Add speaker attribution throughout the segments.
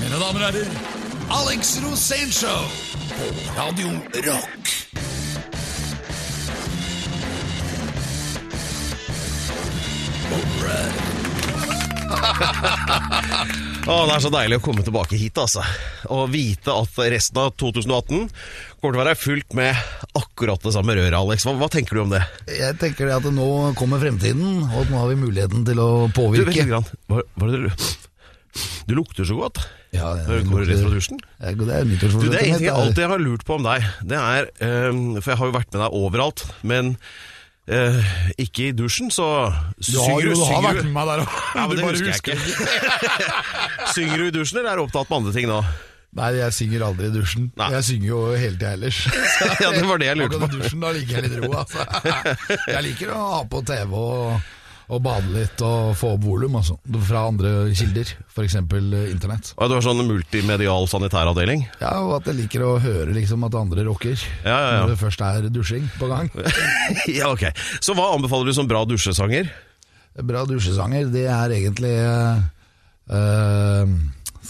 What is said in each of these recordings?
Speaker 1: Mine damer og herrer, Alex Rosénshow på Radio Rock.
Speaker 2: Å, det er så deilig å komme tilbake hit, altså. Og vite at resten av 2018 kommer til å være fullt med akkurat det samme røret, Alex. Hva, hva tenker du om det?
Speaker 3: Jeg tenker det at nå kommer fremtiden, og at nå har vi muligheten til å
Speaker 2: Du, vent
Speaker 3: påvirke.
Speaker 2: litt grann. Hva, hva er det du Du lukter så godt.
Speaker 3: Ja, ja,
Speaker 2: Hører du går du rett fra dusjen?
Speaker 3: Det er- det er nyttårsforsettet
Speaker 2: Du, det er
Speaker 3: mitt,
Speaker 2: en ting jeg
Speaker 3: det er-
Speaker 2: alltid har lurt på om deg. Det er, eh, For jeg har jo vært med deg overalt, men eh, ikke i dusjen, så
Speaker 3: Du har, jo, du har vært med meg der òg.
Speaker 2: ja, men det husker jeg ikke. synger du i dusjen, eller er du opptatt med andre ting nå?
Speaker 3: Nei, jeg synger aldri i dusjen.
Speaker 2: Nei.
Speaker 3: Jeg synger jo hele tida ellers. Så
Speaker 2: Ja, det var det jeg lurte
Speaker 3: akkurat i dusjen, da liker jeg litt ro, altså. Jeg liker å ha på TV og, og bade litt og få opp volum, altså. Fra andre kilder, f.eks. internett.
Speaker 2: Og Du har sånn multimedial sanitæravdeling.
Speaker 3: Ja, og at jeg liker å høre liksom at andre rocker
Speaker 2: Ja, ja, ja.
Speaker 3: når det først er dusjing på gang.
Speaker 2: ja, ok. Så hva anbefaler du som bra dusjesanger?
Speaker 3: Bra dusjesanger, det er egentlig eh, eh,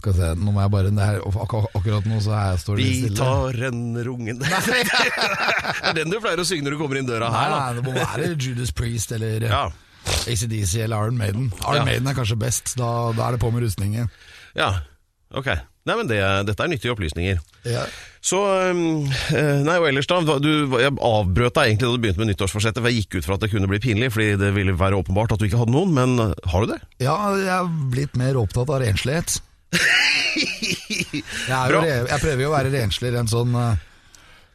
Speaker 3: Skal vi se, nå må jeg bare det er, ak ak Akkurat nå så er jeg står det
Speaker 2: Vi
Speaker 3: litt stille.
Speaker 2: tar en rungen Det er den du pleier å synge når du kommer inn døra
Speaker 3: Nei,
Speaker 2: her, da.
Speaker 3: nei, det må være Judas Priest eller
Speaker 2: Ja.
Speaker 3: ACDC eller Iron Maiden. Iron
Speaker 2: Ja.
Speaker 3: Maiden er kanskje best, da, da er det på med rustningen.
Speaker 2: ja. Ok. Nei, men det, dette er nyttige opplysninger.
Speaker 3: Ja.
Speaker 2: Så um, eh, Nei, og ellers, da. hva- Du, jeg avbrøt deg egentlig da du begynte med nyttårsforsettet, for jeg gikk ut fra at det kunne bli pinlig, fordi det ville være åpenbart at du ikke hadde noen, men eh, har du det?
Speaker 3: ja, jeg er blitt mer opptatt av renslighet. Jeg, er jo
Speaker 2: Bra.
Speaker 3: re jeg prøver jo å være rensligere enn sånn eh,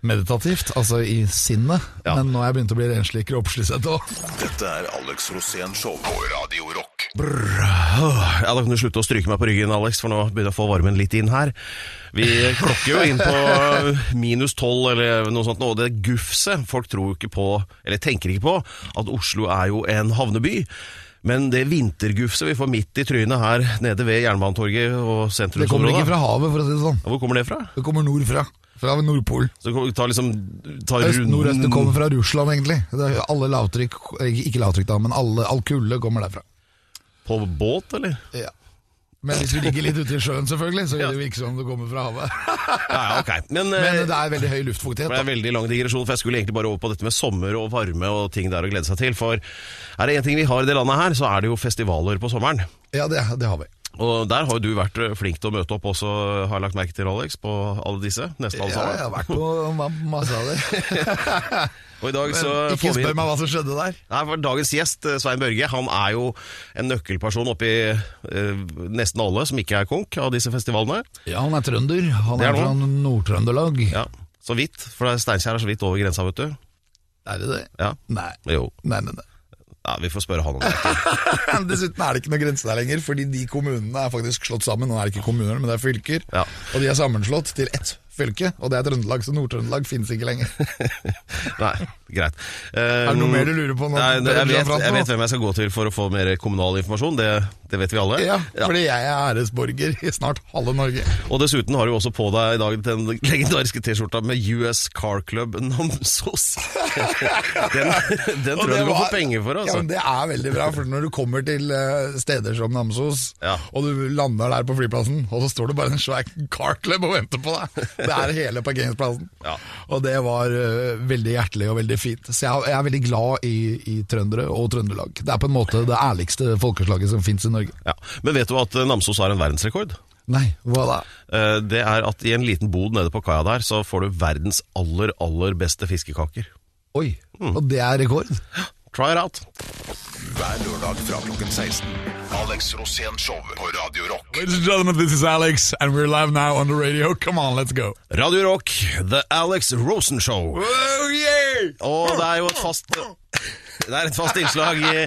Speaker 3: meditativt, altså i sinnet.
Speaker 2: Ja.
Speaker 3: Men nå har jeg begynt å bli renslig kroppslig sett òg.
Speaker 4: Dette er Alex Rosén Show på Radio Rock.
Speaker 2: Åh, Ja, Da kan du slutte å stryke meg på ryggen, Alex, for nå begynner jeg å få varmen litt inn her. Vi klokker jo inn på minus tolv eller noe sånt, nå, og det gufset Folk tror jo ikke på, eller tenker ikke på, at Oslo er jo en havneby. Men det vintergufset vi får midt i trynet her nede ved Jernbanetorget og
Speaker 3: Det kommer ikke
Speaker 2: sentrumsområdet
Speaker 3: fra havet, for å si det sånn.
Speaker 2: ja, Hvor kommer det fra?
Speaker 3: Det kommer nordfra. Fra Nordpolen.
Speaker 2: Så kom- ta liksom, ta
Speaker 3: Øst,
Speaker 2: runden-
Speaker 3: nordøst, det kommer fra Russland egentlig. Det er alle lavtrykk, ikke ikke lavtrykk da, men alle, all kulde kommer derfra.
Speaker 2: På båt, eller?
Speaker 3: Ja. Men hvis du ligger litt ute i sjøen selvfølgelig, så
Speaker 2: Ja.
Speaker 3: vil det virke som det kommer fra havet.
Speaker 2: Ja, ja, ok. Men,
Speaker 3: Men
Speaker 2: eh,
Speaker 3: det er veldig høy
Speaker 2: Det
Speaker 3: luftfuktighet.
Speaker 2: ble en veldig lang digresjon, for jeg skulle egentlig bare over på dette med sommer og varme og ting der å glede seg til. For er det én ting vi har i det landet her, så er det jo festivaler på sommeren.
Speaker 3: Da. Ja, det, det har vi.
Speaker 2: Og der har jo du vært eh, flink til å møte opp også, har jeg lagt merke til, Alex, på alle disse. Nesten alle
Speaker 3: Ja, jeg har
Speaker 2: sammen.
Speaker 3: vært på ma- masse av det.
Speaker 2: Og i dag så
Speaker 3: Ikke
Speaker 2: får vi
Speaker 3: spør meg hva som skjedde der.
Speaker 2: Nei, for Dagens gjest, eh, Svein Børge, han er jo en nøkkelperson oppi eh, nesten alle som ikke er konk av disse festivalene.
Speaker 3: Ja, han er trønder. Han
Speaker 2: Det er
Speaker 3: er fra
Speaker 2: han.
Speaker 3: Nord-Trøndelag.
Speaker 2: Ja, Så vidt, for det er- Steinkjer er så vidt over grensa, vet du.
Speaker 3: Er det det?
Speaker 2: Ja,
Speaker 3: Nei.
Speaker 2: jo.
Speaker 3: Nei, nei, nei.
Speaker 2: Ja, vi får spørre han om det.
Speaker 3: Dessuten er det ikke noen grense der lenger, fordi de kommunene er faktisk slått sammen. Nå er det ikke kommuner, men det er fylker.
Speaker 2: Ja.
Speaker 3: Og de er sammenslått til ett fylke, og det er Trøndelag, så Nord-Trøndelag finnes ikke lenger.
Speaker 2: Nei, greit. Eh,
Speaker 3: Er det noe mer du lurer på nå?
Speaker 2: Nei,
Speaker 3: Per
Speaker 2: jeg, vet,
Speaker 3: Jan Fransson?
Speaker 2: jeg vet hvem jeg skal gå til for å få mer kommunal informasjon. Det, det vet vi alle.
Speaker 3: Ja,
Speaker 2: Ja.
Speaker 3: fordi jeg er æresborger i snart halve Norge.
Speaker 2: Og dessuten har du også på deg i dag den legendariske T-skjorta med US Car Club Namsos. den den tror
Speaker 3: det
Speaker 2: jeg du kan få
Speaker 3: var-
Speaker 2: penger for,
Speaker 3: Ja,
Speaker 2: altså.
Speaker 3: men Det er veldig bra, for når du kommer til eh, steder som Namsos,
Speaker 2: Ja.
Speaker 3: og du lander der på flyplassen, og så står det bare en svær car club og venter på deg. Det er hele parkeringsplassen.
Speaker 2: Ja.
Speaker 3: Og det var eh, veldig hjertelig og veldig fint. Så jeg, jeg er veldig glad i, i trøndere og Trøndelag. Det er på en måte det ærligste folkeslaget som fins i Norge.
Speaker 2: Ja. Men vet du at eh, Namsos har en verdensrekord?
Speaker 3: Nei, hva da?
Speaker 2: Eh, Det er at i en liten bod nede på kaia der, så får du verdens aller, aller beste fiskekaker.
Speaker 3: Oi,
Speaker 2: Hmm.
Speaker 3: og det er rekord.
Speaker 2: Try it out.
Speaker 4: Hver lørdag fra klokken 16. Alex Rosén Show på Radio Rock.
Speaker 3: Ladies and gentlemen, this is Alex, and we're live now on the radio. Come on, let's go.
Speaker 2: Radio Rock, The Alex Rosen Show.
Speaker 3: Oh, yeah!
Speaker 2: Og det er jo et fast det er et fast innslag i,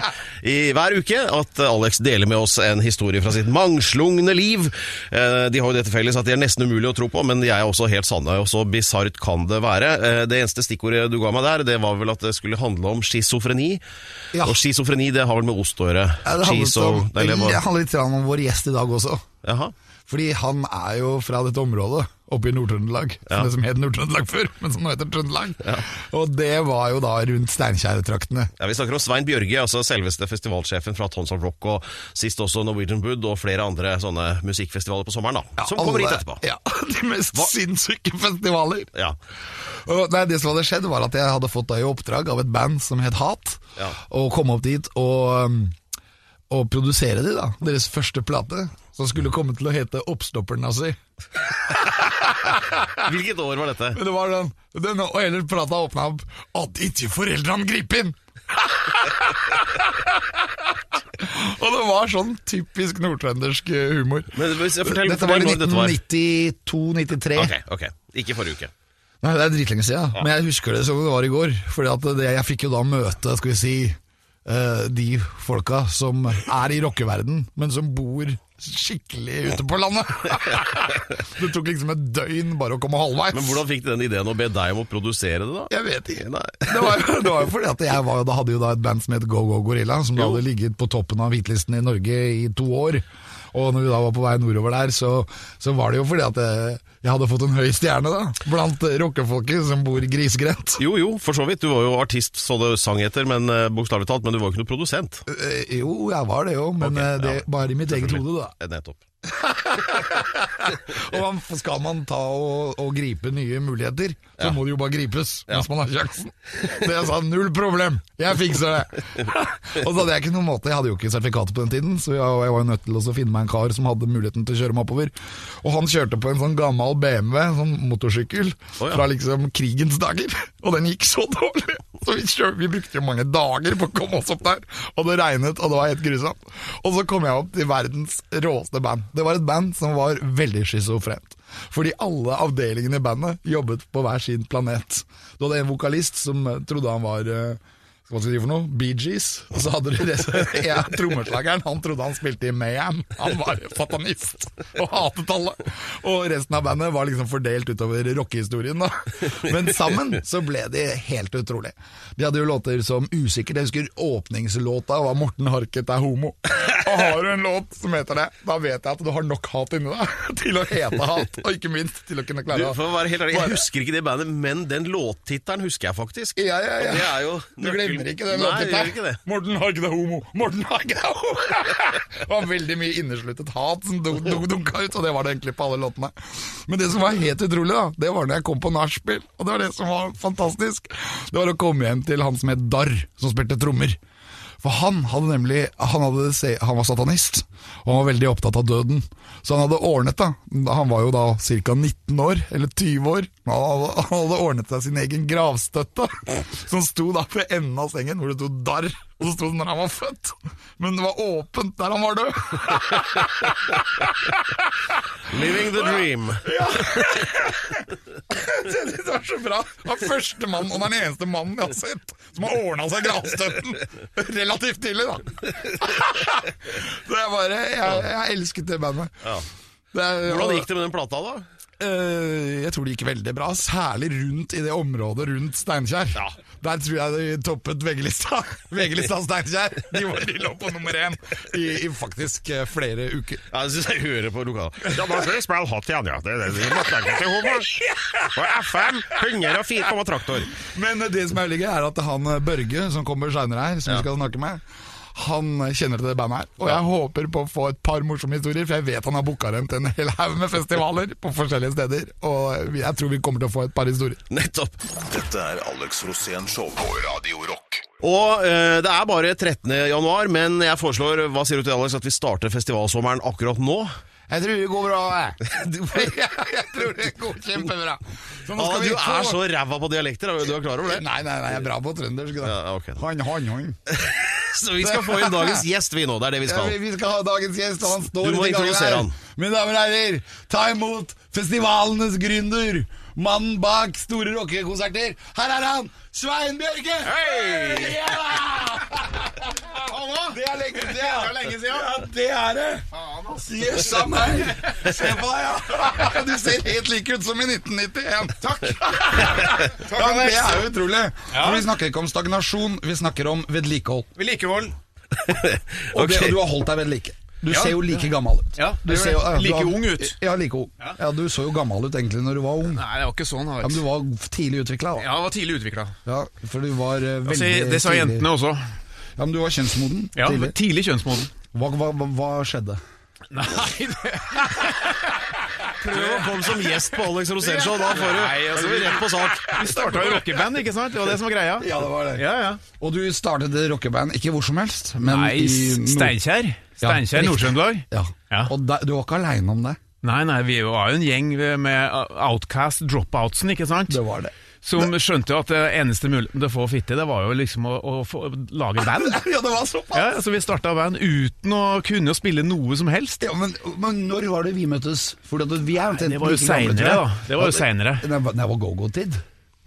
Speaker 2: i hver uke at Alex deler med oss en historie fra sitt mangslungne liv. Eh, De har jo det til felles at de er nesten umulig å tro på, men de er også helt sanne. Og så bisart kan det være. Eh, Det eneste stikkordet du ga meg der, det var vel at det skulle handle om schizofreni.
Speaker 3: Ja.
Speaker 2: Og schizofreni, det har vel med ost å gjøre.
Speaker 3: Ja, det handlet,
Speaker 2: Schizo-
Speaker 3: om,
Speaker 2: eller
Speaker 3: det
Speaker 2: hva-
Speaker 3: handler litt grann om vår gjest i dag også.
Speaker 2: Jaha.
Speaker 3: Fordi han er jo fra dette området, oppe i Nord-Trøndelag.
Speaker 2: Ja.
Speaker 3: som Det som het Nord-Trøndelag før, men som nå heter Trøndelag. Og det var jo da rundt Steinkjer-traktene.
Speaker 2: Ja, vi snakker om Svein Bjørge, altså selveste festivalsjefen fra Tons of Rock, og sist også Norwegian Wood og flere andre sånne musikkfestivaler på sommeren, da. som kommer hit
Speaker 3: Alle-
Speaker 2: etterpå.
Speaker 3: Ja, De mest sinnssyke festivaler.
Speaker 2: Ja.
Speaker 3: Og nei, det som hadde skjedd var at jeg hadde fått da i oppdrag av et band som het Hat,
Speaker 2: Ja.
Speaker 3: å komme opp dit og, um, og produsere de da, deres første plate, som skulle komme til å hete Oppstopperen altså. Nazi.
Speaker 2: Hvilket år var dette?
Speaker 3: Men det var den, den og ellers plata åpna opp at ikke foreldrene griper inn! og det var sånn typisk nordtrøndersk eh, humor.
Speaker 2: Men hvis jeg forteller-
Speaker 3: dette var i
Speaker 2: fortell når dette var.
Speaker 3: 1992-93.
Speaker 2: Ok, ok. Ikke forrige uke.
Speaker 3: Nei, det er dritlenge siden, men jeg husker det som det var i går. Fordi at det, jeg fikk jo da møte, skal vi si, eh, de folka som er i rockeverden, men som bor skikkelig ute på landet. det tok liksom et døgn bare å komme halvveis.
Speaker 2: Men hvordan fikk de den ideen å be deg om å produsere det, da?
Speaker 3: Jeg vet ikke.
Speaker 2: Nei.
Speaker 3: Det var, jo- det var jo fordi at jeg var, jo- da hadde jo da et band som het Go Go Gorilla, som da
Speaker 2: Jo.
Speaker 3: hadde ligget på toppen av hvitlisten i Norge i to år. Og når vi da var på vei nordover der, så, så var det jo fordi at jeg, jeg hadde fått en høy stjerne da, blant rockefolket som bor grisgrendt.
Speaker 2: Jo jo, for så vidt. Du var jo artist så det sang etter, men eh, bokstavelig talt, men du var jo ikke noen produsent.
Speaker 3: Eh, Jo, jeg var det jo, men
Speaker 2: Ok,
Speaker 3: eh, det,
Speaker 2: ja.
Speaker 3: bare i mitt eget hode, da.
Speaker 2: Eh, Nettopp.
Speaker 3: Og man, skal man ta og, og gripe nye muligheter, så må det jo bare gripes mens man har sjansen. Så jeg sa null problem, jeg fikser det. og så hadde jeg ikke noen måte, jeg hadde jo ikke sertifikatet på den tiden, så jeg, og jeg var jo nødt til også å finne meg en kar som hadde muligheten til å kjøre meg oppover. Og han kjørte på en sånn gammel BMW, sånn motorsykkel,
Speaker 2: Å, ja.
Speaker 3: fra liksom krigens dager. Og den gikk så dårlig. Så vi, kjør, vi brukte jo mange dager på å komme oss opp der. Og det regnet, og det var helt grusomt. Og så kom jeg opp til verdens råeste band. Det var et band som var veldig schizofrent. Fordi alle avdelingene i bandet jobbet på hver sin planet. Du hadde en vokalist som eh, trodde han var eh, hva skal de for noe? Bee Gees. Og så hadde du resten- ja, trommeslageren. Han trodde han spilte i Mayhem. Han var fatanist og hatet alle. Og resten av bandet var liksom fordelt utover rockehistorien, da. Men sammen så ble de helt utrolig. De hadde jo låter som Usikker. Jeg husker åpningslåta var Morten Harket er homo. Og har du en låt som heter det, da vet jeg at du har nok hat inni deg til å hete hat, og ikke minst til å kunne
Speaker 2: Du,
Speaker 3: klare
Speaker 2: for å være helt ærlig, Jeg husker ikke det bandet, men den låttittelen husker jeg faktisk.
Speaker 3: Ja, ja, ja.
Speaker 2: Og det er jo
Speaker 3: Du glemmer ikke den
Speaker 2: Nei, jeg
Speaker 3: låttittelen.
Speaker 2: gjør ikke det.
Speaker 3: Morten har ikke det homo! Morten har ikke det homo! det var veldig mye innesluttet hat som dunk, dunk, dunka ut, og det var det egentlig på alle låtene. Men det som var helt utrolig, da, det var når jeg kom på nachspiel, og det var det som var fantastisk. Det var å komme hjem til han som het Darr, som spilte trommer. For han hadde nemlig han, hadde, se- han var satanist, og han var veldig opptatt av døden. Så han hadde ordnet da Han var jo da ca. 19 år, eller 20 år. men Han hadde, han hadde ordnet seg sin egen gravstøtte, som sto da ved enden av sengen, hvor det sto 'darr'. Og så sto det når han var født, men det var åpent der han var død.
Speaker 2: Living the dream.
Speaker 3: Jeg synes det var så bra. Han er førstemann og den eneste mannen jeg har sett som har ordna seg gravstøtten relativt tidlig, da. Så jeg bare Jeg, jeg elsket det bandet.
Speaker 2: Ja.
Speaker 3: Det er-
Speaker 2: Hvordan gikk det med den plata, da?
Speaker 3: Eh, jeg tror det gikk veldig bra, særlig rundt i det området rundt Steinkjer.
Speaker 2: Ja.
Speaker 3: Der tror jeg de toppet VG-lista. VG-lista Steinkjer! De, var, de lå på nummer én i, i faktisk eh, flere uker.
Speaker 2: Ja, det syns jeg hører på lokalet.
Speaker 5: Ja, da skal vi spille hot igjen, ja. Det er det vi måtte legge til homo. Og FM 104,3 traktor.
Speaker 3: Men eh, det som er ligge, er at han eh, Børge, som kommer seinere her, som vi skal snakke med, han eh, kjenner til det bandet her. Og jeg håper på å få et par morsomme historier, for jeg vet han har booka dem til en hel haug med festivaler på forskjellige steder. Og vi- jeg tror vi kommer til å få et par historier.
Speaker 2: Nettopp.
Speaker 4: Dette er Alex Rosén Show på Radio Rock.
Speaker 2: Og eh, det er bare 13. januar, men jeg foreslår hva sier du til Alex, at vi starter festivalsommeren akkurat nå.
Speaker 3: Jeg tror det går bra, jeg. jeg tror det går kjempebra. Så nå
Speaker 2: Ah,
Speaker 3: skal
Speaker 2: du
Speaker 3: vi få-
Speaker 2: er så ræva på dialekter, er du- du er klar over det?
Speaker 3: Nei, nei, nei, jeg er bra på trøndersk. Da.
Speaker 2: Ja, ok.
Speaker 3: Han, han, han.
Speaker 2: Så vi skal få inn dagens gjest, vi nå. Det er det vi
Speaker 3: Ja,
Speaker 2: skal.
Speaker 3: vi, vi skal ha dagens gjest, og han står
Speaker 2: Du må
Speaker 3: ute i gangen
Speaker 2: introdusere
Speaker 3: her.
Speaker 2: han.
Speaker 3: Mine damer og herrer, ta imot festivalenes gründer. Mannen bak store rockekonserter. Her er han, Svein Bjørke! Hei! Det er lenge siden. Det er lenge siden. Ja, det er det. Jøssa meg. Se på deg, ja. Du ser helt lik ut som i 1991. Takk. Ja, det er jo utrolig. For vi snakker ikke om stagnasjon, vi snakker om vedlikehold.
Speaker 6: Vedlikehold.
Speaker 3: Og, det,
Speaker 2: Ok.
Speaker 3: og du har holdt deg ved like. Du ser jo like gammel ut.
Speaker 6: Ja,
Speaker 3: du
Speaker 6: det gjør
Speaker 3: ser jo,
Speaker 6: det.
Speaker 3: ja, du
Speaker 6: Like
Speaker 3: har-
Speaker 6: ung ut.
Speaker 3: Ja, like ung. Ja, Du så jo gammel ut egentlig når du var ung.
Speaker 6: Nei, det var ikke sånn.
Speaker 3: Ja, men du var tidlig utvikla, da.
Speaker 6: Ja, jeg var tidlig utvikla.
Speaker 3: Ja, for du var eh, veldig
Speaker 6: Altså, det sa
Speaker 3: tidlig-
Speaker 6: jentene også.
Speaker 3: Ja, men du var kjønnsmoden
Speaker 6: Ja,
Speaker 3: tidlig.
Speaker 6: Tidlig kjønnsmoden.
Speaker 3: Hva, hva, hva, hva skjedde?
Speaker 6: Nei, det
Speaker 2: Prøv å komme som gjest på Alex Rosenshov, da får du
Speaker 6: Nei, altså,
Speaker 2: da er du rett på sak.
Speaker 6: Vi starta jo rockeband, ikke sant? Det var det som var greia.
Speaker 3: Ja, det var det.
Speaker 6: Ja, ja.
Speaker 3: Og du startet rockeband ikke hvor som helst, men
Speaker 6: Nei,
Speaker 3: i Nord-
Speaker 6: Steinkjer. Steinkjer,
Speaker 3: riktig.
Speaker 6: Nord-Trøndelag.
Speaker 3: Ja.
Speaker 6: Ja.
Speaker 3: Og da, du var ikke aleine om det.
Speaker 6: Nei, nei, vi var jo en gjeng med outcast dropoutsen, ikke sant?
Speaker 3: Det var det.
Speaker 6: Som skjønte jo at det eneste muligheten til å få fitte, det var jo liksom å, å få, lage band.
Speaker 3: ja, det var såpass!
Speaker 6: Ja, så vi starta band uten å kunne spille noe som helst.
Speaker 3: Ja, men, men når var det vi møttes? Fordi at vi er omtrent
Speaker 6: Det var jo
Speaker 3: like gamle, tror
Speaker 6: seinere,
Speaker 3: jeg.
Speaker 6: da. Det var jo senere.
Speaker 3: Det var, det var go-go-tid.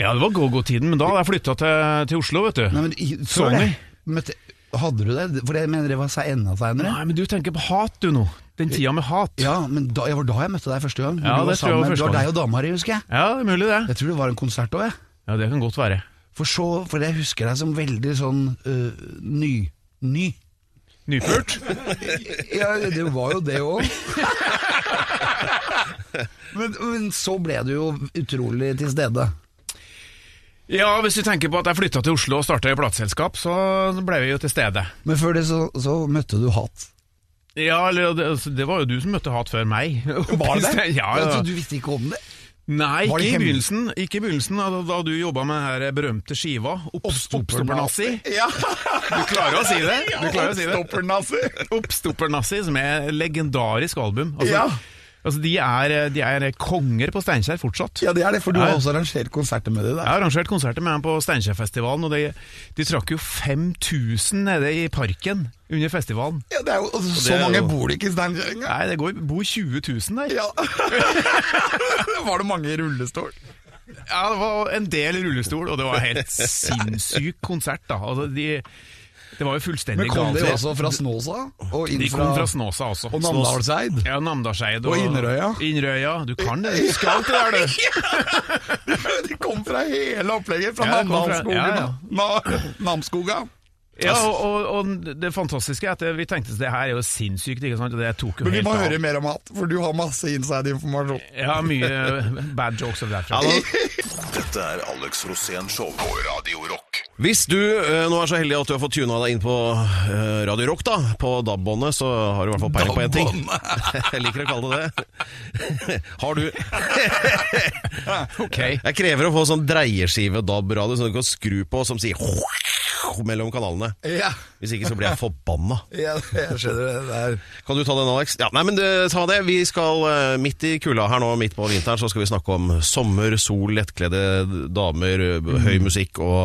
Speaker 6: Ja, det var go-go-tiden, men da hadde jeg flytta til, til Oslo, vet du.
Speaker 3: Nei, men i- før
Speaker 6: Sony.
Speaker 3: det, Møtte, hadde du det? For jeg mener det var se- enda seinere.
Speaker 6: Nei, men du tenker på hat, du nå. Den tida med hat. Ja,
Speaker 3: Ja, men da, det var da jeg møtte deg første gang.
Speaker 6: Ja,
Speaker 3: Du var
Speaker 6: det tror jeg var
Speaker 3: sammen-
Speaker 6: første
Speaker 3: Det var
Speaker 6: gang.
Speaker 3: deg og dama di, husker jeg.
Speaker 6: det er mulig det.
Speaker 3: Jeg tror det var en konsert òg, jeg.
Speaker 6: Ja, Det kan godt være.
Speaker 3: For, så, for jeg husker deg som veldig sånn øh, ny. Ny.
Speaker 6: Nypult.
Speaker 3: Ja, det var jo det òg. men, men så ble du jo utrolig til stede.
Speaker 6: Ja, hvis du tenker på at jeg flytta til Oslo og starta i plateselskap, så ble vi jo til stede.
Speaker 3: Men før det så, så møtte du hat.
Speaker 6: Ja, eller det, altså, det var jo du som møtte hat før meg. Ja, ja.
Speaker 3: Altså, Du visste ikke om det?
Speaker 6: Nei,
Speaker 3: Var
Speaker 6: ikke
Speaker 3: det
Speaker 6: i,
Speaker 3: hemmelig?
Speaker 6: begynnelsen, ikke i begynnelsen, da, da du jobba med den her berømte skiva, Oppstoppernazi.
Speaker 3: Ja.
Speaker 6: Du klarer å si det! Du klarer å si det.
Speaker 3: Oppstoppernazi.
Speaker 6: Oppstoppernazi, som er et legendarisk album. Altså,
Speaker 3: Ja.
Speaker 6: altså de, er, de er konger på Steinkjer fortsatt.
Speaker 3: Ja, det er det, for du har
Speaker 6: Ja.
Speaker 3: også arrangert konserter med det
Speaker 6: Jeg
Speaker 3: der.
Speaker 6: har arrangert konserter med dem på Steinkjerfestivalen, og de, de trakk jo 5000 nede i parken under festivalen.
Speaker 3: Ja, det er jo, altså,
Speaker 2: det
Speaker 3: så
Speaker 2: er
Speaker 3: mange
Speaker 2: jo-
Speaker 3: bor det ikke i Steinkjer engang.
Speaker 6: Nei, det går, bor 20 000 der.
Speaker 3: Ja. Var det mange i rullestol?
Speaker 6: Ja, det var en del rullestol, og det var helt sinnssyk konsert, da. Altså, de, det var jo fullstendig
Speaker 3: Men kom de
Speaker 6: galskap.
Speaker 3: også fra Snåsa? Og inn
Speaker 6: De kom fra Snåsa også.
Speaker 3: Og Namdalseid?
Speaker 6: Ja, Namdalseid
Speaker 3: Og Inderøya.
Speaker 6: Inderøya. Du kan det. Du skal til det, du.
Speaker 3: De kom fra hele opplegget, fra
Speaker 6: Ja, de kom fra-
Speaker 3: Namdalsskogen.
Speaker 6: ja, ja.
Speaker 3: Na- Namskoga.
Speaker 6: Ja, og, og, og det fantastiske er at vi tenkte det her er jo sinnssykt, ikke sant? Og det tok jo
Speaker 3: Men vi
Speaker 6: helt
Speaker 3: må
Speaker 6: av.
Speaker 3: høre mer om hat, for du har masse inside-informasjon.
Speaker 6: Ja, mye bad jokes og derfra.
Speaker 4: Dette er Alex Rosén Show på Radio Rock.
Speaker 2: Hvis du eh, nå er så heldig at du har fått tuna deg inn på eh, Radio Rock, da, på DAB-båndet, så har du i hvert fall peiling på én ting. Jeg liker å kalle det det. Har du
Speaker 6: ok.
Speaker 2: Jeg krever å få sånn dreieskive-DAB-radio som du kan skru på, som sier mellom kanalene.
Speaker 3: Ja,
Speaker 2: Hvis ikke så blir jeg forbanna.
Speaker 3: ja, jeg skjønner det der.
Speaker 2: Kan du ta den, Alex? Ja, nei, men det, ta det. Vi skal eh, midt i kulda her nå, midt på vinteren, så skal vi snakke om sommer, sol, lettkledde damer, eh, høy musikk og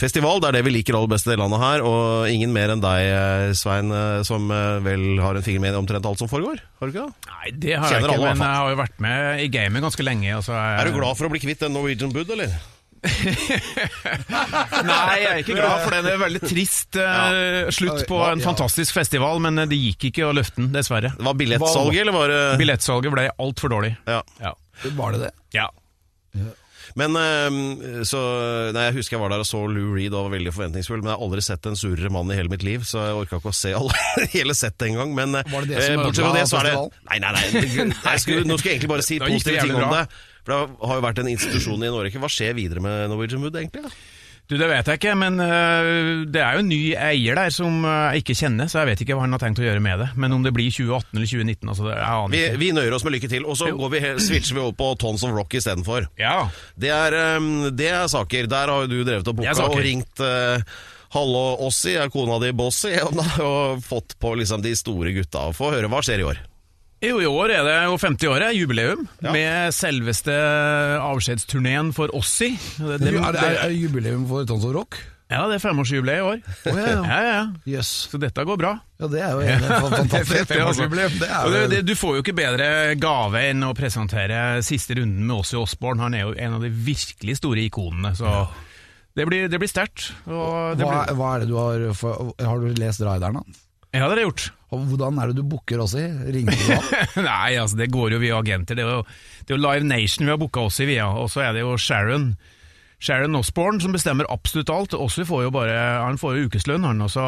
Speaker 2: festival. Det er det vi liker aller best i det landet her. Og ingen mer enn deg, eh, Svein, eh, som eh, vel har en finger med i omtrent alt som foregår? Har du ikke det?
Speaker 6: Nei, det har jeg
Speaker 2: Kjenner alle, i
Speaker 6: ikke,
Speaker 2: hvert
Speaker 6: men
Speaker 2: fall.
Speaker 6: jeg har jo vært med i gamet ganske lenge. Og så jeg...
Speaker 2: Er du glad for å bli kvitt den Norwegian Bud, eller?
Speaker 6: Nei, jeg er ikke glad, for den er veldig trist eh, slutt på en
Speaker 3: Ja.
Speaker 6: fantastisk festival, men eh, det gikk ikke å løfte den, dessverre.
Speaker 2: Det var billettsalget, eller var det
Speaker 6: Billettsalget ble altfor dårlig.
Speaker 2: ja.
Speaker 6: Ja.
Speaker 3: Var det det?
Speaker 6: ja.
Speaker 2: Men eh, så Nei, jeg husker jeg var der og så Lou Reed og var veldig forventningsfull, men jeg har aldri sett en surere mann i hele mitt liv, så jeg orka ikke å se alle, hele settet engang. Men eh,
Speaker 3: Var det det som
Speaker 2: eh, bortsett
Speaker 3: ødela
Speaker 2: fra det, så er det
Speaker 3: festivalen?
Speaker 2: Nei, nei, nei. Jeg skulle, nå skulle jeg egentlig bare si
Speaker 6: Da gikk det
Speaker 2: positive ting
Speaker 6: jævlig
Speaker 2: om
Speaker 6: bra.
Speaker 2: det. For det har jo vært en institusjon i Norge. Hva skjer videre med Norwegian Wood, egentlig? Da?
Speaker 6: Du, Det vet jeg ikke, men eh, det er jo en ny eier der som eh, jeg ikke kjenner, så jeg vet ikke hva han har tenkt å gjøre med det. Men om det blir 2018 eller 2019, altså, det jeg aner
Speaker 2: Vi,
Speaker 6: jeg ikke.
Speaker 2: vi nøyer oss med lykke til, og så
Speaker 6: Jo.
Speaker 2: går vi, he- switcher vi over på Tons of Rock istedenfor.
Speaker 6: Ja.
Speaker 2: Det er, eh, det er saker. Der har jo du drevet og
Speaker 6: Det er
Speaker 2: booka
Speaker 6: saker.
Speaker 2: og ringt eh, Hallo Ossi, er kona di Bossi? Og, da- og fått på liksom de store gutta. Få høre, hva skjer i år?
Speaker 6: Jo, i år er det jo 50-året, jubileum, med selveste avskjedsturneen for Ossi. Det,
Speaker 3: er,
Speaker 6: det,
Speaker 3: det, er,
Speaker 6: det,
Speaker 3: er det jubileum for Tons og Rock?
Speaker 6: ja, det er femårsjubileum i år.
Speaker 3: ja, ja.
Speaker 6: ja, ja.
Speaker 3: Jøss.
Speaker 6: Så dette går bra.
Speaker 3: Ja, det er jo en fantastisk
Speaker 6: Fett, det, altså.
Speaker 3: femårsjubileum. Det
Speaker 6: Og
Speaker 3: er
Speaker 6: det,
Speaker 3: jo
Speaker 6: det, du får jo ikke bedre gave enn å presentere siste runden med Åssi Osborn. Han er jo en av de virkelig store ikonene. Så det blir, det blir sterkt. og det
Speaker 3: hva,
Speaker 6: blir-
Speaker 3: hva er det du har for, Har du lest Raideren hans?
Speaker 6: Ja, det har dere gjort.
Speaker 3: Og Hvordan er det du booker også i? Ringer du han?
Speaker 6: Nei, altså det går jo via agenter. Det er jo, det er jo Live Nation vi har booka Åssi via, og så er det jo Sharon. Sharon Osbourne som bestemmer absolutt alt. Også får jo bare, han får jo ukeslønn, han også.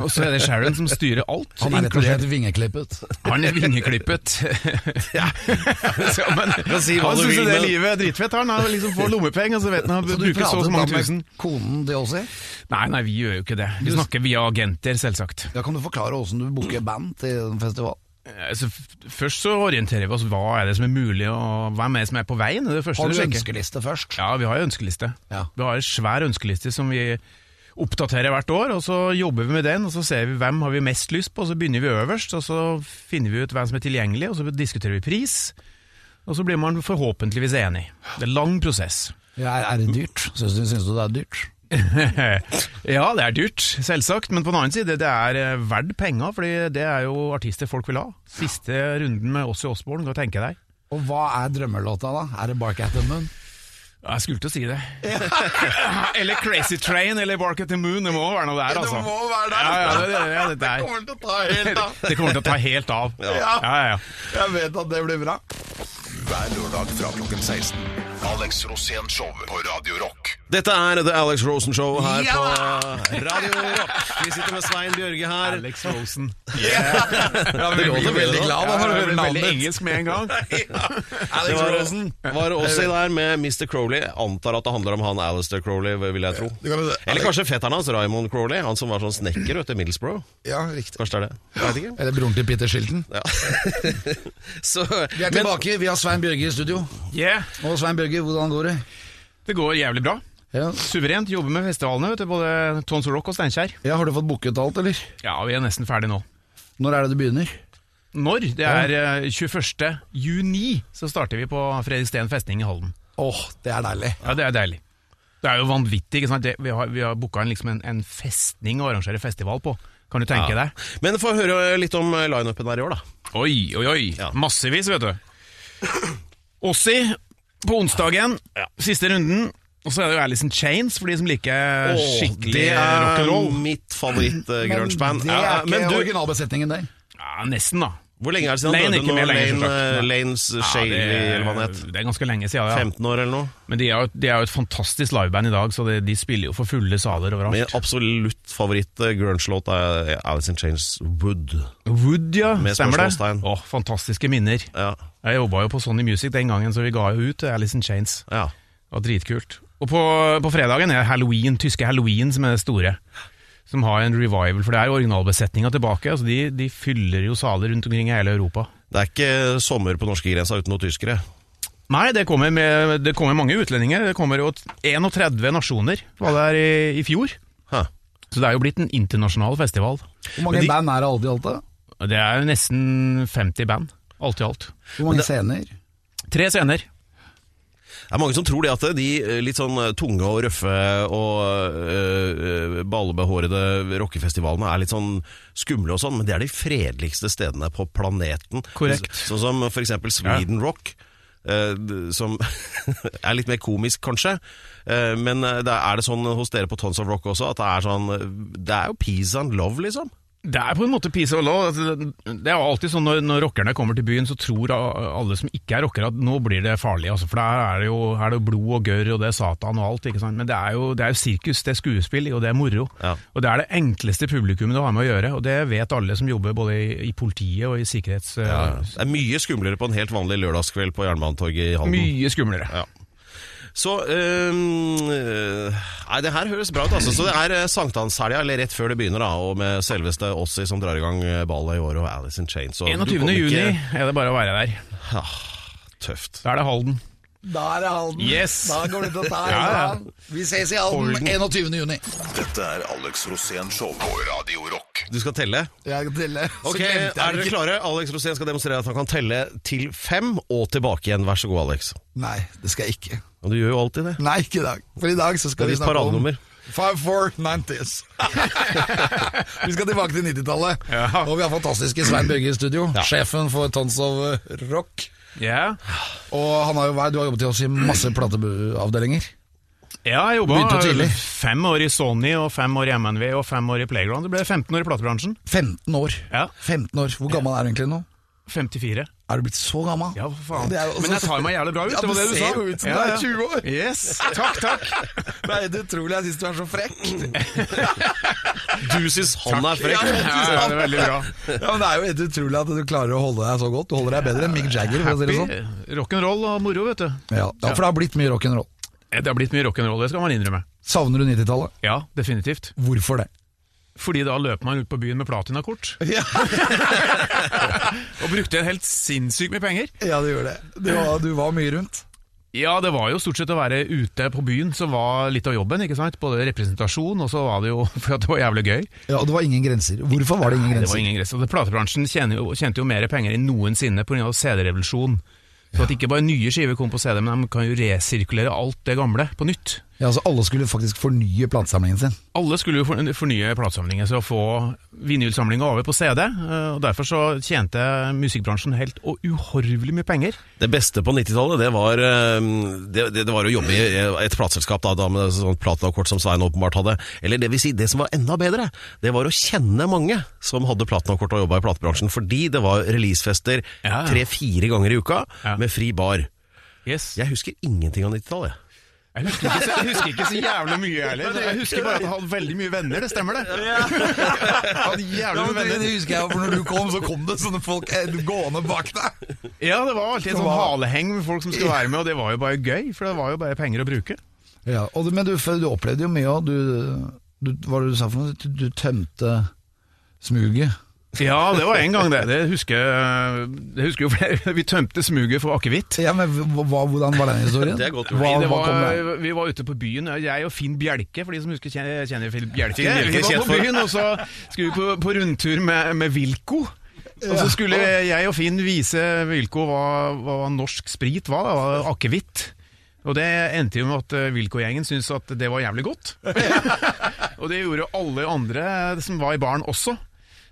Speaker 6: Og så er det Sharon som styrer alt.
Speaker 7: Han er rett og
Speaker 6: inkludert-
Speaker 7: slett vingeklippet.
Speaker 6: han er vingeklippet. Så, men,
Speaker 2: kan si hva
Speaker 6: han
Speaker 2: du
Speaker 6: syns
Speaker 2: vil,
Speaker 6: jo det
Speaker 2: men-
Speaker 6: livet er dritfett. Han har liksom får lommepenger, og så vet han han bruker så og så mange
Speaker 7: da med
Speaker 6: tusen.
Speaker 7: konen de også?
Speaker 6: Nei, nei, vi gjør jo ikke det. Vi snakker via agenter, selvsagt.
Speaker 7: Ja, Kan du forklare åssen du booker band til en festival?
Speaker 6: Altså, f- først så orienterer vi oss hva er det som er mulig, og hvem er det som er på veien. Det er det første
Speaker 7: Har du
Speaker 6: du sjekker.
Speaker 7: ønskeliste først?
Speaker 6: Ja, vi har jo ønskeliste.
Speaker 7: Ja.
Speaker 6: Vi har en svær ønskeliste som vi oppdaterer hvert år, og så jobber vi med den, og så ser vi hvem har vi mest lyst på, og så begynner vi øverst, og så finner vi ut hvem som er tilgjengelig, og så diskuterer vi pris, og så blir man forhåpentligvis enig. Det er lang prosess.
Speaker 7: Ja, er, er det dyrt? Syns du, syns du det er dyrt?
Speaker 6: ja, det er dyrt, selvsagt, men på den annen side, det er eh, verdt penger, fordi det er jo artister folk vil ha. Siste runden med oss i Osborne, kan du tenke deg.
Speaker 7: Og hva er drømmelåta, da? Er det 'Bark at the Moon'?
Speaker 6: Ja, Jeg skulle til å si det. eller Crazy Train eller Bark at the Moon. Det må være noe der, altså.
Speaker 3: Det må være der!
Speaker 6: Ja, ja, det, det, ja,
Speaker 3: Jeg
Speaker 6: det, der.
Speaker 3: kommer til å ta helt av.
Speaker 6: det kommer til å ta helt av. Ja, ja, ja.
Speaker 3: Jeg vet at det blir bra.
Speaker 4: Hver lørdag fra klokken 16. Alex Rosén Show på Radio Rock.
Speaker 2: Dette er The Alex Rosen Show her på Radio Rock. Vi sitter med Svein Bjørge her.
Speaker 6: Alex Rosen.
Speaker 2: Det låter veldig glad
Speaker 3: da, når du
Speaker 6: Ja, jeg
Speaker 3: hører
Speaker 6: ble
Speaker 3: navnet
Speaker 6: Veldig
Speaker 3: ditt.
Speaker 6: engelsk med en gang.
Speaker 2: Det var, var også i der med Mr. Crowley. Antar at det handler om han Alistair Crowley, vil jeg tro.
Speaker 3: kan du si.
Speaker 2: Eller kanskje fetteren hans, Raymond Crowley. Han som var sånn snekker vet du, i Middlesbrough.
Speaker 3: Ja, riktig.
Speaker 2: Kanskje det er det. Jeg vet ikke.
Speaker 7: Eller broren til Peter Shilton?
Speaker 2: Så,
Speaker 7: Vi er
Speaker 2: men
Speaker 7: tilbake, vi har Svein Bjørge i studio.
Speaker 6: Yeah.
Speaker 7: Og Svein Bjørge, hvordan går det?
Speaker 6: Det går jævlig bra.
Speaker 7: Ja.
Speaker 6: Suverent. Jobber med festivalene, vet du. Både Tons Rock og Steinkjer.
Speaker 7: ja, Har du fått booket alt, eller?
Speaker 6: Ja, vi er nesten ferdig nå.
Speaker 7: Når er det det begynner?
Speaker 6: Når? Det er eh, 21. juni, så starter vi på Fredriksten festning i Halden.
Speaker 7: Åh, det er deilig.
Speaker 6: Ja, det er deilig. Det er jo vanvittig. ikke sant? Det, vi har, vi har booka en, liksom en, en festning å arrangere festival på. Kan du tenke
Speaker 2: Ja.
Speaker 6: deg?
Speaker 2: Men få høre litt om lineupen her i år, da.
Speaker 6: Oi, oi, oi.
Speaker 2: Ja.
Speaker 6: Massevis, vet du. Ossi på onsdagen, siste runden. Og så er det jo Alice in Chains, for de som liker skikkelig
Speaker 2: det er
Speaker 6: rock'n'roll.
Speaker 2: mitt eh, favoritt-grunge-band.
Speaker 7: Det er ikke
Speaker 2: men du,
Speaker 7: originalbesetningen der.
Speaker 6: Ja, nesten, da.
Speaker 2: hvor lenge er det siden han
Speaker 6: Lane
Speaker 2: døde
Speaker 6: er ikke
Speaker 2: nå?
Speaker 6: med
Speaker 2: Lane, eh,
Speaker 6: lenger, selvsagt.
Speaker 2: Lanes Shaley, eller hva han het.
Speaker 6: det er ganske lenge siden, ja.
Speaker 2: 15 år eller noe.
Speaker 6: Men de er, jo, de er jo et fantastisk liveband i dag, så de, de spiller jo for fulle
Speaker 2: Min
Speaker 6: saler overalt.
Speaker 2: absolutt favoritt-grunge-låt er Alice in Chains Wood.
Speaker 6: Wood, ja.
Speaker 2: Med
Speaker 6: Stemmer det?
Speaker 2: spørsmålstegn.
Speaker 6: Åh, fantastiske minner.
Speaker 2: Ja,
Speaker 6: Jeg jobba jo på Sony Music den gangen, så vi ga jo ut Alice in Chains.
Speaker 2: ja.
Speaker 6: Det var dritkult. Og på, på fredagen er halloween, tyske halloween som er det store. Som har en revival, for det er jo originalbesetninga tilbake. Altså de, de fyller jo saler rundt omkring i hele Europa.
Speaker 2: Det er ikke sommer på norskegrensa uten noen tyskere.
Speaker 6: Nei, det kommer, med, det kommer mange utlendinger. Det kommer jo 31 nasjoner var det her i, i fjor.
Speaker 2: Hæ.
Speaker 6: Så det er jo blitt en internasjonal festival.
Speaker 7: Hvor mange
Speaker 2: Men de-
Speaker 7: band er det alt i alt, da?
Speaker 6: Og Det er jo nesten 50 band, alt i alt.
Speaker 7: Hvor mange scener?
Speaker 6: Tre scener.
Speaker 2: Det er mange som tror det at de eh, litt sånn eh, tunge og røffe og øh, ballebehårede rockefestivalene er litt sånn skumle og sånn, men det er de fredeligste stedene på planeten.
Speaker 6: Korrekt.
Speaker 2: Så, sånn som for eksempel Sweden Rock. eh, d- som er litt mer komisk, kanskje. Eh, men eh, det er er det sånn hos dere på Tons of Rock også? At det er sånn eh, Det er jo peace and love, liksom.
Speaker 6: Det er på en måte peace and love. Altså, Det det er jo alltid sånn når, når rockerne kommer til byen, så tror a- alle som ikke er rockere at nå blir det farlig. Altså, for der er det jo her er det jo blod og gørr og det er Satan og alt. Ikke sant? Men det er, jo, det er jo sirkus, det er skuespill og det er moro.
Speaker 2: Ja.
Speaker 6: Og det er det enkleste publikummet du har med å gjøre, og det vet alle som jobber både i, i politiet og i sikkerhets...
Speaker 2: Det er mye skumlere på en helt vanlig lørdagskveld på Jernbanetorget i Halden.
Speaker 6: eh, Mye skumlere.
Speaker 2: Så øhm, øh, Nei, det her høres bra ut, altså. Så det er eh, sankthanshelga, eller rett før det begynner, da. Og med selveste Ossi som drar i gang eh, ballet i år, og Alice in Chains. Og du
Speaker 6: 21.
Speaker 2: kommer
Speaker 6: juni
Speaker 2: ikke-
Speaker 6: er det bare å være der.
Speaker 2: Tøft.
Speaker 6: Da er det Halden.
Speaker 7: Da er det Halden.
Speaker 6: Yes.
Speaker 7: Da går det til å ta
Speaker 6: Ja, ja.
Speaker 7: Halden. Vi ses i Halden 21. juni.
Speaker 4: Dette er Alex Rosén Show på Radio Rock.
Speaker 2: Du skal telle?
Speaker 3: Jeg teller. Så
Speaker 2: Ok, Er
Speaker 3: glemte jeg
Speaker 2: dere
Speaker 3: ikke-
Speaker 2: klare? Alex Rosén skal demonstrere at han kan telle til fem, og tilbake igjen. Vær så god, Alex.
Speaker 3: Nei, det skal jeg ikke.
Speaker 2: Og du gjør jo alltid det.
Speaker 3: Nei, ikke i dag. For i dag så skal
Speaker 2: Det
Speaker 3: vi
Speaker 2: er ditt
Speaker 3: snakke om
Speaker 2: paradenummer.
Speaker 3: 5490s. vi skal tilbake til 90-tallet.
Speaker 6: Ja.
Speaker 3: Og vi har fantastiske Svein Bjørge i studio. Sjefen for Tons of Rock.
Speaker 6: Ja,
Speaker 3: Og han har jo vært, du har jobbet i oss i masse plateavdelinger.
Speaker 6: ja jeg jobba
Speaker 3: Begynte tidlig.
Speaker 6: fem år i Sony, og fem år i MNV og fem år i Playground. Det ble 15 år i platebransjen.
Speaker 3: 15 år.
Speaker 6: Ja.
Speaker 3: 15 år. Hvor gammel er du egentlig nå?
Speaker 6: 54.
Speaker 3: Er du blitt så gammel?
Speaker 6: Ja, for faen.
Speaker 3: Det er jo også-
Speaker 6: Men jeg tar meg jævlig bra ut,
Speaker 3: Ja,
Speaker 6: det var det
Speaker 3: du
Speaker 6: du sa.
Speaker 3: ser jo ut som du er 20 år.
Speaker 6: Yes, takk, takk.
Speaker 3: Det er helt utrolig. Jeg syns du er så frekk.
Speaker 2: Du syns han er
Speaker 3: Ja,
Speaker 2: frekk.
Speaker 3: men
Speaker 6: Ja, det er veldig bra.
Speaker 3: Ja, men Det er jo helt utrolig at du klarer å holde deg så godt. Du holder deg bedre enn Mick Jagger. For å si det sånn.
Speaker 6: Rock'n'roll og moro, vet du.
Speaker 3: ja, ja, for det har blitt mye rock'n'roll.
Speaker 6: Det har blitt mye rock'n'roll, det skal man innrømme.
Speaker 3: Savner du 90-tallet?
Speaker 6: Ja, definitivt.
Speaker 3: Hvorfor det?
Speaker 6: Fordi da løp man ut på byen med platinakort.
Speaker 3: Ja.
Speaker 6: og brukte helt sinnssykt mye penger.
Speaker 3: Ja, du gjør det. Du var, du var mye rundt.
Speaker 6: Ja, det var jo stort sett å være ute på byen som var litt av jobben, ikke sant? Både representasjon, og så var det jo for at det var jævlig gøy.
Speaker 3: Ja, Og det var ingen grenser. Hvorfor var det ingen
Speaker 6: Det var
Speaker 3: grenser?
Speaker 6: ingen gress. Og det- platebransjen tjente jo, tjente jo mer penger enn noensinne pga. CD-revolusjonen. Så at ikke bare nye skiver kom på CD, men de kan jo resirkulere alt det gamle på nytt.
Speaker 3: Ja, altså Alle skulle faktisk fornye platesamlingen sin.
Speaker 6: Alle skulle jo for- fornye platesamlingen, så å få vinylsamlinga over på CD. eh, Og derfor så tjente musikkbransjen helt og uhorvelig mye penger.
Speaker 2: Det beste på 90-tallet, det var ehm, det, det, det var å jobbe i et plateselskap da, da med sånn platinakort som Svein åpenbart hadde. Eller det vil si, det som var enda bedre, det var å kjenne mange som hadde platinakort og jobba i platebransjen. Fordi det var releasefester
Speaker 6: Ja.
Speaker 2: tre-fire ganger i uka
Speaker 6: Ja.
Speaker 2: med fri bar.
Speaker 6: Yes.
Speaker 2: Jeg husker ingenting av 90-tallet. jeg.
Speaker 6: Jeg husker, ikke så, jeg husker ikke så jævlig mye heller. Jeg husker bare at jeg hadde veldig mye venner, det stemmer det. Jeg hadde jævlig mye venner.
Speaker 3: husker jeg, for når du kom, så kom det sånne folk eh, gående bak deg.
Speaker 6: Ja, det var alltid en sånn haleheng med folk som skulle være med, og det var jo bare gøy, for det var jo bare penger å bruke.
Speaker 3: Ja, og, du- Men du, du opplevde jo mye òg. Du, du, hva var det du sa for noe? Du, du tømte smuget.
Speaker 6: Ja, det var en gang det. Det husker, det husker jo flere. Vi tømte smuget for akevitt.
Speaker 3: Ja, men hva, Hvordan var den historien?
Speaker 2: Det er godt gjort.
Speaker 3: hva,
Speaker 6: Det
Speaker 3: hva kom det?
Speaker 6: var, vi var ute på byen, jeg og Finn Bjelke, for de som husker kjenner, kjenner Finn Bjelke.
Speaker 2: Finn Bjelke
Speaker 6: Vi
Speaker 2: kjent
Speaker 6: var på
Speaker 2: for-
Speaker 6: byen, og så skulle vi på, på rundtur med, med Vilko. Og så skulle jeg og Finn vise Vilko hva, hva norsk sprit var, da, hva akevitt. Og det endte jo med at eh, Vilko-gjengen syntes at det var jævlig godt. og det gjorde alle andre som var i baren også.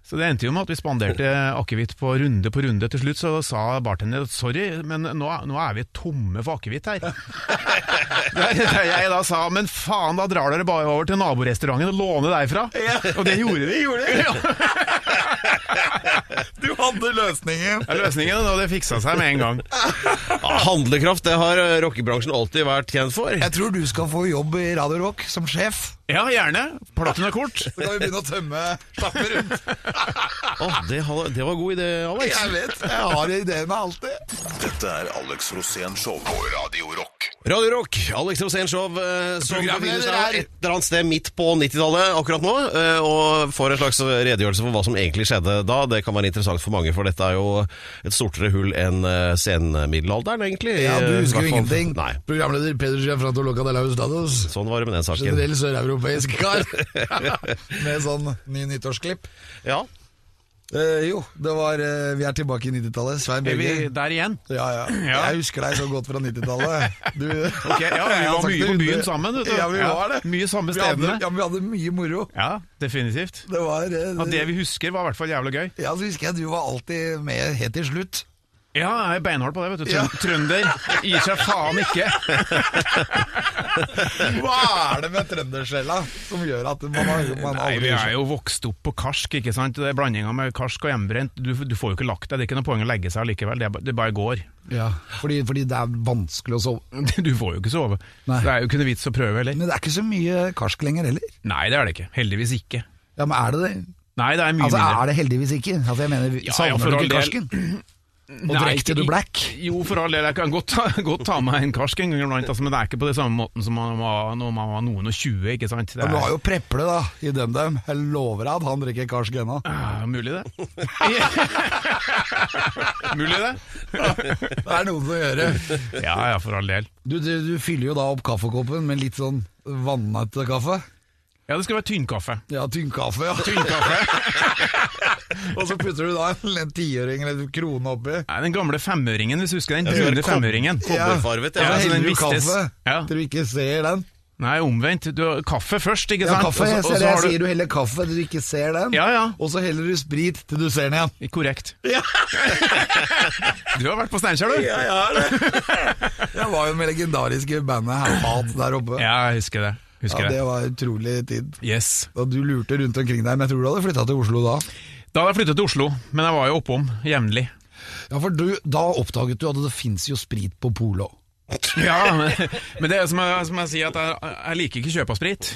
Speaker 6: Så det endte jo med at vi spanderte akevitt på runde på runde. Til slutt så sa bartender sorry, men nå, nå er vi tomme for akevitt her. Der, der jeg da sa men faen, da drar dere bare over til naborestauranten og låner derfra. Og det gjorde de.
Speaker 8: Du hadde løsningen!
Speaker 6: Det er løsningen, og det fiksa seg med en gang.
Speaker 2: Ja, handlekraft, det har eh, rockebransjen alltid vært kjent for.
Speaker 3: Jeg tror du skal få jobb i Radio Rock som sjef.
Speaker 6: Ja, gjerne. Platinakort.
Speaker 3: Så kan vi begynne å tømme slappe rundt.
Speaker 2: Å, det, hadde- det var god idé, Alex.
Speaker 3: Jeg vet, jeg har ideene alltid.
Speaker 4: Dette er Alex Rosén Show på Radio Rock.
Speaker 2: Radio Rock, Alex Rosénshow, eh, som befinner seg
Speaker 3: Programleder er-
Speaker 2: et eller annet sted midt på 90-tallet akkurat nå, eh, og får en slags redegjørelse for hva som egentlig skjedde da. Det kan være interessant for mange, for dette er jo et stortere hull enn eh, senmiddelalderen, egentlig.
Speaker 3: Ja, Du
Speaker 2: Eh,
Speaker 3: husker jo
Speaker 2: i hvert fall-
Speaker 3: ingenting.
Speaker 2: Nei.
Speaker 3: Programleder Peder Gianfranto Loca de la Hustados.
Speaker 2: Sånn var det med den saken.
Speaker 3: Generell søreuropeisk kar. Med sånn ny nyttårsklipp.
Speaker 2: Ja.
Speaker 3: Eh, jo, det var eh, Vi er tilbake i 90-tallet. Svein
Speaker 6: Er vi
Speaker 3: Bjørge.
Speaker 6: der igjen?
Speaker 3: Ja, ja.
Speaker 6: Ja.
Speaker 3: Jeg husker deg så godt fra 90-tallet. Du
Speaker 6: Ok, ja, Vi
Speaker 3: Jeg har
Speaker 6: var
Speaker 3: sagt
Speaker 6: mye
Speaker 3: det
Speaker 6: på
Speaker 3: hundre-
Speaker 6: byen sammen. Vet du.
Speaker 3: Ja, vi var det.
Speaker 6: Mye samme
Speaker 3: vi hadde,
Speaker 6: stedene.
Speaker 3: ja, men vi hadde mye moro.
Speaker 6: Ja, definitivt.
Speaker 3: Det var eh,
Speaker 6: At det vi husker, var i hvert fall jævlig gøy.
Speaker 3: Ja, så husker jeg du var alltid med helt til slutt.
Speaker 6: Ja, jeg er beinhard på det, vet du. Trøn- Trønder gir seg faen ikke.
Speaker 3: Hva er det med trøndersjela som gjør at man, har, man
Speaker 6: Nei,
Speaker 3: aldri
Speaker 6: Vi er jo vokst opp på karsk, ikke sant. Det er blandinga med karsk og hjemmebrent. Du, du får jo ikke lagt deg, det er ikke noe poeng å legge seg likevel. Det, er ba- det bare går.
Speaker 3: Ja, fordi, fordi det er vanskelig å sove.
Speaker 6: Du får jo ikke sove.
Speaker 3: Nei.
Speaker 6: Så Det er jo ikke noe vits å prøve heller.
Speaker 3: Men det er ikke så mye karsk lenger heller.
Speaker 6: Nei, det er det ikke. Heldigvis ikke.
Speaker 3: Ja, men er det det?
Speaker 6: Nei, det er mye
Speaker 3: Altså,
Speaker 6: mindre.
Speaker 3: er det heldigvis ikke? Altså, jeg mener,
Speaker 6: ja,
Speaker 3: savner
Speaker 6: for
Speaker 3: du
Speaker 6: all
Speaker 3: ikke
Speaker 6: del.
Speaker 3: karsken? Og
Speaker 6: Nei,
Speaker 3: drekte
Speaker 6: ikke-
Speaker 3: du black?
Speaker 6: Jo, for all del. Jeg kan godt ta, godt ta meg en karsk en gang iblant, altså, men det er ikke på det samme måten som man var når man var noen og tjue, ikke sant. Det
Speaker 3: Men
Speaker 6: er,
Speaker 3: du har jo Preple da, i DumDum. Jeg lover deg at han drikker karsk ennå.
Speaker 6: Ah, mulig det. mulig det.
Speaker 3: Det er noe å gjøre.
Speaker 6: Ja, ja, for all del.
Speaker 3: Du, du, du fyller jo da opp kaffekoppen med litt sånn vannete kaffe.
Speaker 6: Ja, det skal være tynnkaffe.
Speaker 3: Ja, tynnkaffe, ja.
Speaker 6: Tynnkaffe.
Speaker 3: Og så putter du da en- en tiøring eller en krone oppi.
Speaker 6: Nei, den gamle femøringen, hvis du husker den
Speaker 2: det var
Speaker 6: brune
Speaker 2: kob-
Speaker 6: femøringen.
Speaker 2: Kobberfarvet,
Speaker 3: Så
Speaker 2: ja.
Speaker 6: Ja, altså, den
Speaker 3: heller du
Speaker 6: vistes.
Speaker 3: kaffe
Speaker 6: Ja.
Speaker 3: til du ikke ser den.
Speaker 6: Nei, omvendt. Du har kaffe først, ikke
Speaker 3: Ja,
Speaker 6: sant?
Speaker 3: kaffe, jeg,
Speaker 6: Og så- og
Speaker 3: ser,
Speaker 6: så
Speaker 3: jeg
Speaker 6: har du-
Speaker 3: sier du heller kaffe til du ikke ser den.
Speaker 6: Ja, ja.
Speaker 3: Og så heller du sprit til du ser den igjen.
Speaker 6: Korrekt. du har vært på Steinkjer, du?
Speaker 3: Ja, jeg har det. Jeg var jo med legendariske bandet Hermat der oppe.
Speaker 6: Ja, jeg husker det. Husker
Speaker 3: Ja, det
Speaker 6: det.
Speaker 3: var utrolig tid.
Speaker 6: Yes.
Speaker 3: Da du lurte rundt omkring deg, men jeg tror du hadde flytta til Oslo da.
Speaker 6: Da hadde jeg flyttet til Oslo, men jeg var jo oppom jevnlig.
Speaker 7: Ja, for du, da oppdaget du at det fins jo sprit på polet òg.
Speaker 6: Ja, men, men det er jo som jeg, som jeg sier, at jeg, jeg liker ikke kjøpa sprit.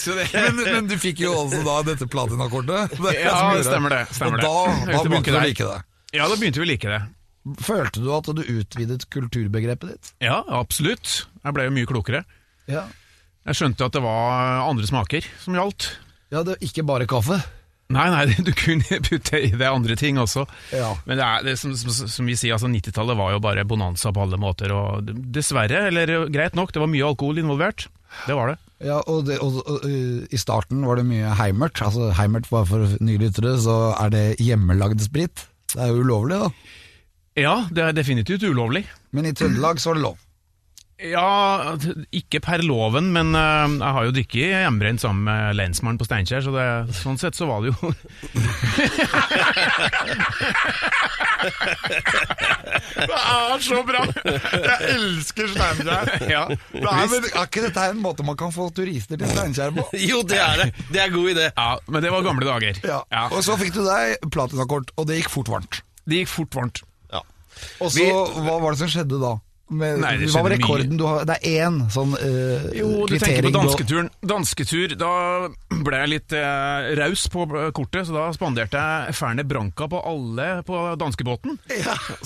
Speaker 6: Så det,
Speaker 3: Men, men du fikk jo altså da dette platinakortet. Det er
Speaker 6: Ja,
Speaker 3: som gjorde-
Speaker 6: det stemmer det, stemmer
Speaker 3: og
Speaker 6: det.
Speaker 3: da, da begynte
Speaker 6: Høyeste
Speaker 3: du å
Speaker 6: banken
Speaker 3: like det.
Speaker 6: ja, da begynte vi å like det.
Speaker 7: Følte du at du utvidet kulturbegrepet ditt?
Speaker 6: Ja, absolutt. Jeg ble jo mye klokere.
Speaker 7: Ja,
Speaker 6: Jeg skjønte at det var andre smaker som gjaldt.
Speaker 7: ja det, ikke bare kaffe.
Speaker 6: Nei, nei, du kunne putte i det andre ting også.
Speaker 7: Ja.
Speaker 6: Men det er, det, er som, som, som vi sier, altså 90-tallet var jo bare bonanza på alle måter. Og dessverre, eller eh, greit nok, det var mye alkohol involvert. Det var det.
Speaker 7: Ja, og, det, og, og øh, I starten var det mye heimert. Altså, heimert var for nylyttere, så er det hjemmelagd sprit. Det er jo ulovlig, da.
Speaker 6: Ja, det er definitivt ulovlig.
Speaker 7: Men i Trøndelag så er det lov.
Speaker 6: Ja, ikke per loven, men eh, jeg har jo drikket hjemmebrent sammen med lensmannen på Steinkjer, så det, sånn sett så var det jo
Speaker 3: Det er så bra! Jeg elsker Steinkjer.
Speaker 6: Ja.
Speaker 3: Det er, men, er ikke dette her en måte man kan få turister til Steinkjer på?
Speaker 2: Jo, det er det. Det er en god idé.
Speaker 6: Ja, men det var gamle dager.
Speaker 3: Ja. Og så fikk du deg platinakort, og det gikk fort varmt.
Speaker 6: Det gikk fort varmt.
Speaker 3: Og så,
Speaker 2: Vi-
Speaker 3: Hva var det som skjedde da? Med,
Speaker 6: Nei, det
Speaker 3: hva var
Speaker 6: skjedde mye.
Speaker 3: rekorden?
Speaker 7: Men Du har, det er én sånn øh,
Speaker 6: Jo, du tenker
Speaker 7: kvittering
Speaker 6: på dansketuren. Dansketur, da ble jeg litt eh, raus på eh, kortet, så da spanderte jeg Ferne Branca på alle på danskebåten.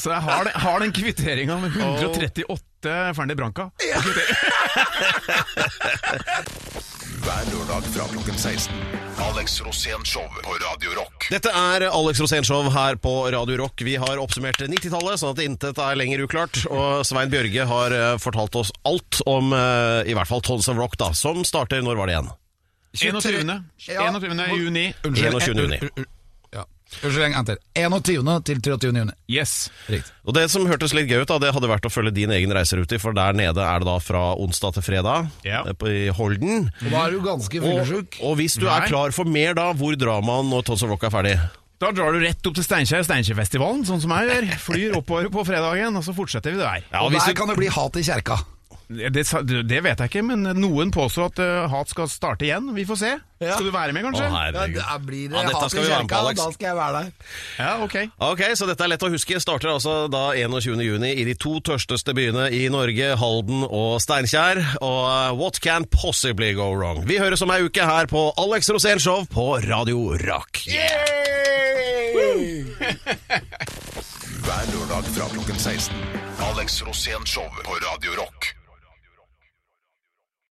Speaker 6: Så jeg har, den- har den kvitteringa med 138 Ferne Branca.
Speaker 4: Hver lørdag fra klokken 16. Alex Rosén Show på Radio Rock.
Speaker 2: Dette er Alex Rosénshow her på Radio Rock. Vi har oppsummert 90-tallet, sånn at intet er lenger uklart. Og Svein Bjørge har eh, fortalt oss alt om eh, i hvert fall Tons of Rock, da. Som starter Når var det igjen?
Speaker 6: 21. 21. juni.
Speaker 2: 21.
Speaker 7: Eh,
Speaker 2: juni.
Speaker 3: Ja.
Speaker 7: Unnskyld, en gang til. 21. til 23. juni.
Speaker 6: Yes.
Speaker 2: Og Det som hørtes litt gøy ut, da, det hadde vært å følge din egen reiserute, for der nede er det da fra onsdag til fredag
Speaker 6: Ja.
Speaker 2: eh, på- i Holden.
Speaker 7: Og da er du ganske
Speaker 2: Mm. Og,
Speaker 7: fyllesyk.
Speaker 2: og hvis du
Speaker 6: Nei.
Speaker 2: er klar for mer, da, hvor drar man når Tons of Rock er ferdig?
Speaker 6: Da drar du rett opp til Steinkjer, Steinkjerfestivalen, sånn som jeg gjør. Flyr oppover på fredagen, og så fortsetter vi der.
Speaker 2: Ja,
Speaker 7: Og
Speaker 2: hvis
Speaker 7: der
Speaker 2: du,
Speaker 7: kan det bli hat i kjerka.
Speaker 6: Det, sa- det vet jeg ikke, men noen påstår at eh, hat skal starte igjen. Vi får se.
Speaker 7: Ja.
Speaker 6: Skal du være med,
Speaker 2: å,
Speaker 6: kanskje?
Speaker 2: herregud.
Speaker 7: er- blir
Speaker 2: Ja, dette skal vi være med på, Alex.
Speaker 7: skal jeg være der.
Speaker 6: ja, ok.
Speaker 2: Ok, så dette er lett å huske. Starter altså da 21. juni i de to tørsteste byene i Norge, Halden og Steinkjer. Og eh, what can possibly go wrong? Vi høres om ei uke her på Alex Rosén Show på Radio Rock.
Speaker 4: Hver lørdag fra klokken 16. Alex Rosén Show på Radio Rock.